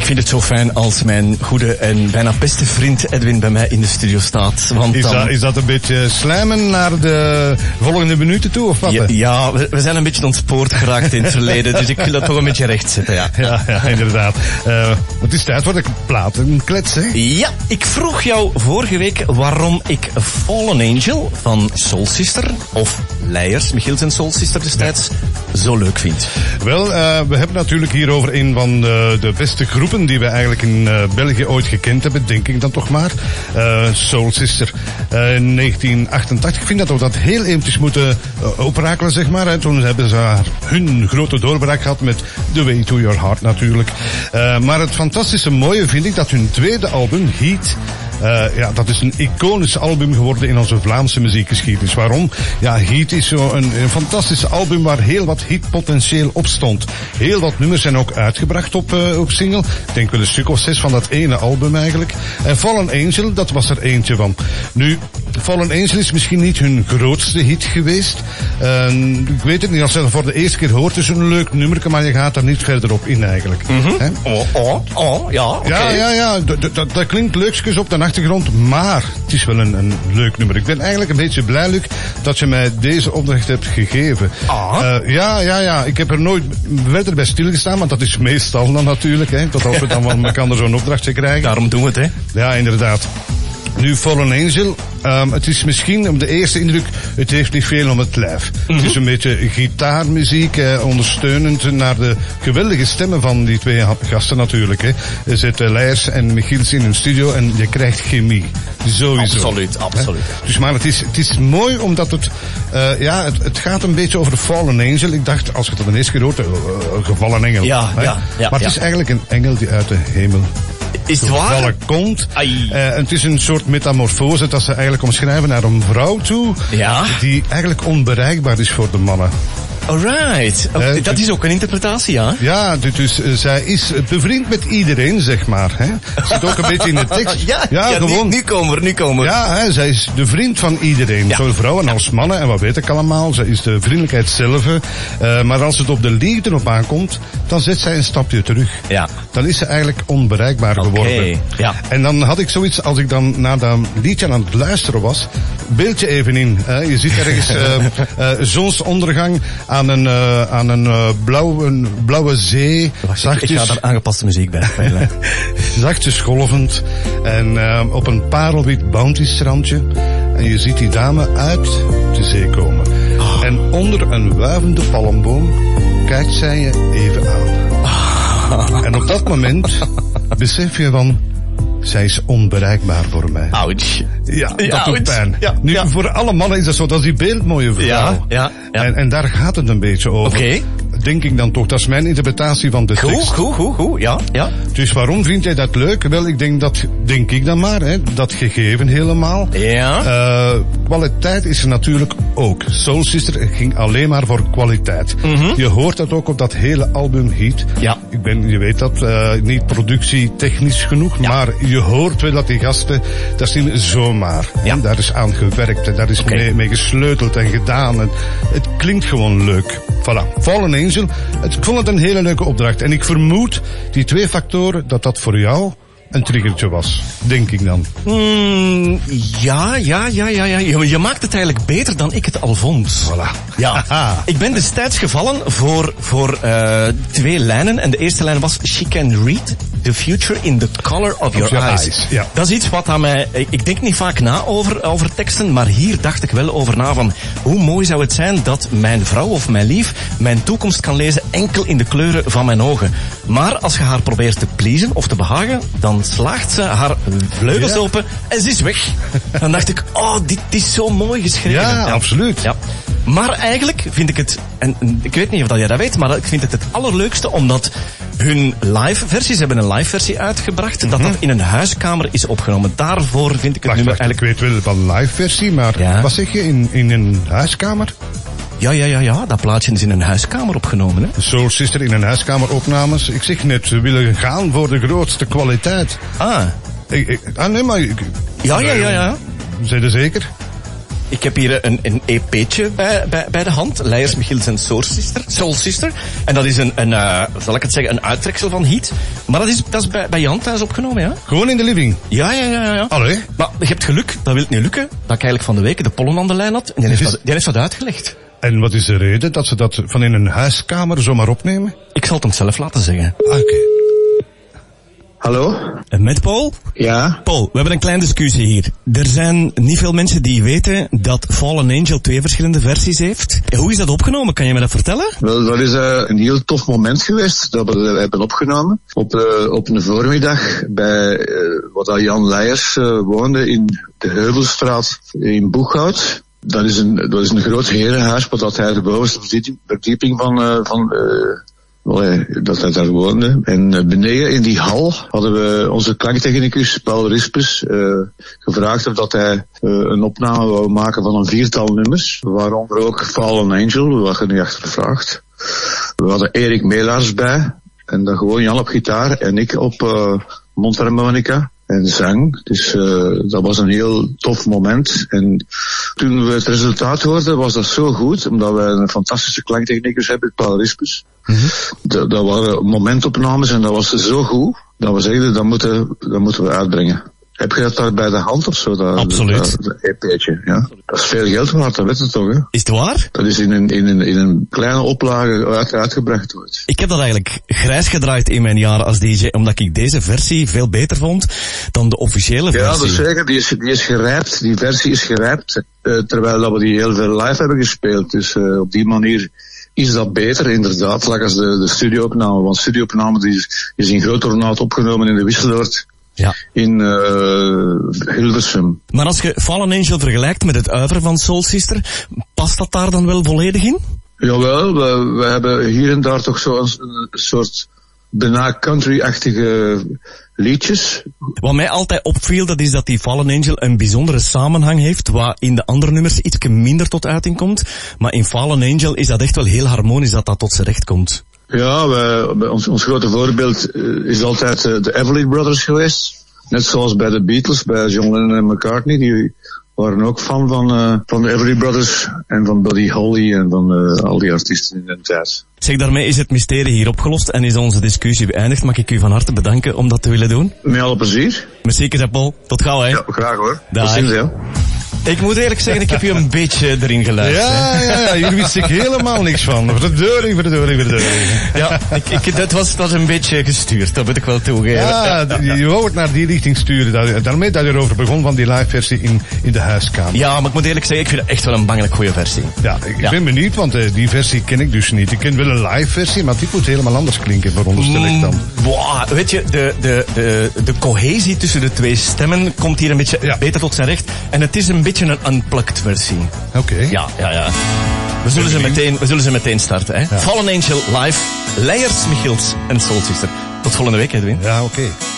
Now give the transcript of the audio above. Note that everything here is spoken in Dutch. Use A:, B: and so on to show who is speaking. A: vind het zo fijn als mijn goede en bijna beste vriend Edwin bij mij in de studio staat. Want
B: Is
A: dan-
B: dat, is dat een beetje slijmen naar de volgende minuten toe of wat?
A: Ja,
B: hè?
A: ja, we, we zijn een beetje ontspoord geraakt in het verleden, dus ik wil dat toch een beetje recht zetten, ja.
B: Ja, ja, inderdaad. Eh, het is tijd voor de plaat, een klets, hè?
A: Ja, ik vroeg jou vorige week waarom ik Fallen Angel van Soul Sister, of Leijers, Michiels en Soul Sister destijds, zo leuk vind.
B: Wel, eh, we hebben natuurlijk hierover een van de, de beste groepen die we eigenlijk in eh, België ooit gekend hebben, denk ik dan toch maar. Eh, Soul Sister eh, 1988. Ik vind dat we dat heel eventjes moeten eh, oprakelen, zeg maar. Hè. Toen hebben ze haar- hun grote doorbraak gehad met The Way to Your Heart natuurlijk. Eh, maar het fantastische mooie vind ik dat hun tweede album, Heat, eh, ja, dat is een iconisch album geworden in onze Vlaamse muziekgeschiedenis. Waarom? Ja, Heat is zo'n een, een fantastisch album waar heel wat hitpotentieel op stond. Heel wat nummers zijn ook uitgebracht op, eh, op single. Ik denk wel een stuk of zes van dat ene album eigenlijk. En Fallen Angel, dat was er eentje van. Nu, Fallen Angel is misschien niet hun grootste hit geweest. Eh, ik weet het niet, als je dat voor de eerste keer hoort, is het een leuk nummer, maar je gaat er niet verder op in eigenlijk. Hè?
A: Oh, oh, oh, ja, oké.
B: Ja, ja, ja. d- d- Dat, dat klinkt leukjes op de achtergrond, maar het is wel een, een leuk nummer. Ik ben eigenlijk een beetje blij, Luc, dat je mij deze opdracht hebt gegeven.
A: Ah.
B: Eh, ja, ja, ja. Ik heb er nooit verder bij stilgestaan, want dat is meestal dan natuurlijk. Hè, tot als we dan van elkaar zo'n opdrachtje krijgen.
A: Daarom doen we het, hè.
B: Ja, inderdaad. Nu, Fallen Angel, ehm, het is misschien om de eerste indruk, het heeft niet veel om het lijf.
A: Mhm.
B: Het is een beetje gitaarmuziek, eh, ondersteunend naar de geweldige stemmen van die twee ha- gasten natuurlijk. Hè. Er zitten Leijers en Michiels in hun studio en je krijgt chemie. Sowieso.
A: Absoluut, absoluut.
B: Hè? Dus maar het is, het is mooi omdat het, eh, ja, het, het gaat een beetje over Fallen Angel. Ik dacht, als ik het dan eerst gehoord heb, eh, eh, gevallen engel.
A: Ja,
B: hè.
A: ja, ja,
B: maar het
A: ja.
B: is eigenlijk een engel die uit de hemel
A: Is het waar?
B: gevallen komt.
A: Ai.
B: Eh, het is een soort metamorfose dat ze eigenlijk omschrijven naar een vrouw toe.
A: Ja.
B: Die eigenlijk onbereikbaar is voor de mannen.
A: Alright. Oh,
B: Eh,
A: dat is ook een interpretatie, ja.
B: Ja, dus- dus eh, zij is bevriend met iedereen, zeg maar. Hè. Zit ook een beetje in de tekst.
A: Ja, ja, nu-
B: gewoon.
A: Nu, komen we, nu komen we.
B: Ja, hè, zij is de vriend van iedereen.
A: Ja.
B: Zowel vrouwen als mannen. En wat weet ik allemaal. Zij is de vriendelijkheid zelf. eh, maar als het op de liefde op aankomt, dan zet zij een stapje terug.
A: Ja.
B: Dan is ze eigenlijk onbereikbaar
A: Oké,
B: geworden.
A: ja.
B: En dan had ik zoiets, als ik dan naar dat liedje aan het luisteren was, beeld je even in. hè. je ziet ergens eh, eh, zonsondergang aan een, eh, aan een eh, blauwe, blauwe zee.
A: Wacht, ik, ik
B: zachtjes
A: ga daar aangepaste muziek bij spelen.
B: zachtjes golvend en ehm, op een parelwit bountystrandje. En je ziet die dame uit de zee komen.
A: Ah.
B: En onder een wuivende palmboom kijkt zij je even aan.
A: Ah.
B: En op dat moment besef je van, zij is onbereikbaar voor mij.
A: Ouch.
B: Ja, dat
A: Ja,
B: doet
A: het-
B: pijn.
A: ja,
B: nu,
A: ja.
B: voor alle mannen is dat zo, dat is die beeldmooie vrouw.
A: Ja, ja, ja.
B: En, en daar gaat het een beetje over.
A: Oké.
B: Denk ik dan toch, dat is mijn interpretatie van de
A: Goed,
B: tekst.
A: goed, goed, goed. Ja, ja.
B: Dus waarom vind jij dat leuk? Wel, ik denk dat, denk ik dan maar, hè, dat gegeven helemaal.
A: Ja.
B: Eh, kwaliteit is er natuurlijk ook. Soul Sister ging alleen maar voor kwaliteit. Je hoort dat ook op dat hele album Heat.
A: Mhm. Ja.
B: Ik ben, je weet dat, eh, niet productie technisch genoeg, maar je hoort wel dat die gasten, dat is niet zomaar.
A: Ja.
B: En Daar is aan gewerkt en daar is
A: Oké.
B: mee, mee gesleuteld en gedaan. En het klinkt gewoon leuk. Voilà. Fallen Angel, het, ik vond het een hele leuke opdracht. En ik vermoed, die twee factoren, dat dat voor jou een triggertje was. Denk ik dan.
A: Mm, ja, ja, ja, ja, ja. Je, je maakt het eigenlijk beter dan ik het al vond.
B: Voilà.
A: Ja,
B: Haha.
A: ik ben destijds gevallen voor, voor eh, twee lijnen. En de eerste lijn was She can read the future in the color of your,
B: your
A: eyes.
B: eyes, ja.
A: Dat is iets wat aan mij... Ik, ik denk niet vaak na over, over teksten, maar hier dacht ik wel over na van... Hoe mooi zou het zijn dat mijn vrouw of mijn lief mijn toekomst kan lezen enkel in de kleuren van mijn ogen. Maar als je haar probeert te pleasen of te behagen, dan slaagt ze haar vleugels
B: Ja.
A: open en ze is weg. Dan dacht ik, oh, dit is zo mooi geschreven.
B: Ja, absoluut.
A: Ja. Maar eigenlijk vind ik het, en en ik weet niet of dat jij dat weet, maar ik vind het het allerleukste omdat hun live versie, ze hebben een live versie uitgebracht, dat dat in een huiskamer is opgenomen. Daarvoor vind ik het
B: Wacht,
A: nummer
B: wacht, ik
A: eigenlijk...
B: weet wel van live versie, maar
A: Ja.
B: wat zeg je, in, in een huiskamer?
A: Ja, ja, ja, ja, dat plaatje is in een huiskamer opgenomen. Hè?
B: Soul Sister in een huiskamer opnames. Ik zeg net, we willen gaan voor de grootste kwaliteit.
A: Ah,
B: Ik, ik- ah nee, maar... ik-
A: ja, ja, ja, ja.
B: Zijn er zeker?
A: Ik heb hier een, een EP'tje bij, bij, bij de hand. Leijers Michiels en Soul Sister, Soul Sister. En dat is een, een eh, zal ik het zeggen, een uittreksel van Heat. Maar dat is, dat is bij, bij Jan thuis opgenomen, ja?
B: Gewoon in de living.
A: Ja, ja, ja, ja, ja.
B: Allee.
A: Maar je hebt geluk, dat wil het niet lukken, dat ik eigenlijk van de weken de pollen aan de lijn had. En die heeft,
B: Is-
A: dat, die heeft dat uitgelegd.
B: En wat is de reden dat ze dat van in een huiskamer zomaar opnemen?
A: Ik zal het hem zelf laten zeggen.
B: Ah, Oké.
C: Hallo?
A: Eh, Met Paul?
C: Ja?
A: Paul, we hebben een kleine discussie hier. Er zijn niet veel mensen die weten dat Fallen Angel twee verschillende versies heeft. Hoe is dat opgenomen? Kan je me dat vertellen?
C: Wel, dat is eh, een heel tof moment geweest dat we eh, hebben opgenomen. Op, eh, op een voormiddag bij eh, wat dat Jan Leijers eh, woonde in de Heuvelstraat in Boeghout. Dat is een, dat is een groot herenhuis, wat dat hij de bovenste verdieping, verdieping van, eh, van eh, wel, eh, dat hij daar woonde. En eh, beneden in die hal hadden we onze klanktechnicus Paul Rispes eh, gevraagd of dat hij eh, een opname wou maken van een viertal nummers. Waaronder ook Fallen Angel, wat je nu achter vraagt. We hadden Erik Melaars bij. En dan gewoon Jan op gitaar en ik op eh mondharmonica en zang. Dus eh, dat was een heel tof moment. En toen we het resultaat hoorden, was dat zo goed. Omdat we een fantastische klanktechnicus hebben, Paul Rispus. dat, dat waren momentopnames en dat was zo goed. Dat we zeiden, dat moeten, dat moeten we uitbrengen. Heb je dat daar bij de hand of zo? Dat,
A: Absoluut.
C: Dat, dat EP'tje, ja. Dat is veel geld waard, dat weet je toch, hè?
A: Is het waar?
C: Dat is in een, in een, in een kleine oplage uit- uitgebracht wordt.
A: Ik heb dat eigenlijk grijs gedraaid in mijn jaren als DJ, omdat ik deze versie veel beter vond dan de officiële
C: Ja,
A: versie.
C: dat is zeker. Die is, die is gerijpt. Die versie is gerijpt. eh, terwijl dat we die heel veel live hebben gespeeld. Dus eh, op die manier is dat beter, inderdaad. Like als de, de studioopname. Want studioopname die is, is in groot ornaat opgenomen in de Wisseloord
A: Ja.
C: in eh Hilversum.
A: Maar als je Fallen Angel vergelijkt met het uiver van Soul Sister, past dat daar dan wel volledig in?
C: Jawel, we, we hebben hier en daar toch zo'n een soort bijna country-achtige liedjes.
A: Wat mij altijd opviel, dat is dat die Fallen Angel een bijzondere samenhang heeft, waar in de andere nummers iets minder tot uiting komt. Maar in Fallen Angel is dat echt wel heel harmonisch dat dat tot zijn recht komt.
C: Ja, we, we- ons, ons grote voorbeeld eh, is altijd eh, de Everly Brothers geweest. Net zoals bij de Beatles, bij John Lennon en McCartney. Die waren ook fan van, eh, van de Everly Brothers en van Buddy Holly en van eh, al die artiesten in den tijd.
A: Zeg, daarmee is het mysterie hier opgelost en is onze discussie beëindigd. Mag ik u van harte bedanken om dat te willen doen?
C: Met alle plezier.
A: Merci, Paul. Tot gauw, hè.
C: Ja, graag hoor.
A: Dag.
C: Tot ziens, hè.
A: Ik moet eerlijk zeggen, ik heb u een beetje erin geluisterd.
B: Ja, ja, ja, hier wist ik helemaal niks van. Verdeuring, verdeuring, verdeuring.
A: Ja, ik, ik, dat, was, dat was een beetje gestuurd, dat moet ik wel toegeven.
B: Ja, d- je wou het naar die richting sturen. Daar, daarmee dat je erover begon van die live versie in, in de huiskamer.
A: Ja, maar ik moet eerlijk zeggen, ik vind het echt wel een bangelijk goede versie.
B: Ja, ik
A: Ja.
B: ben benieuwd, want eh, die versie ken ik dus niet. Ik ken wel een live versie, maar die moet helemaal anders klinken, veronderstel ik dan.
A: Mm, wow, weet je, de, de, de, de cohesie tussen de twee stemmen komt hier een beetje
B: Ja.
A: beter tot zijn recht. En het is een beetje een unplugged versie.
B: Oké.
A: Ja, ja, ja. We zullen, ze meteen, we zullen ze meteen starten, hè. Fallen Angel live, Leijers, Michiels en Soul Sister. Tot volgende week, Edwin.
B: Ja, oké.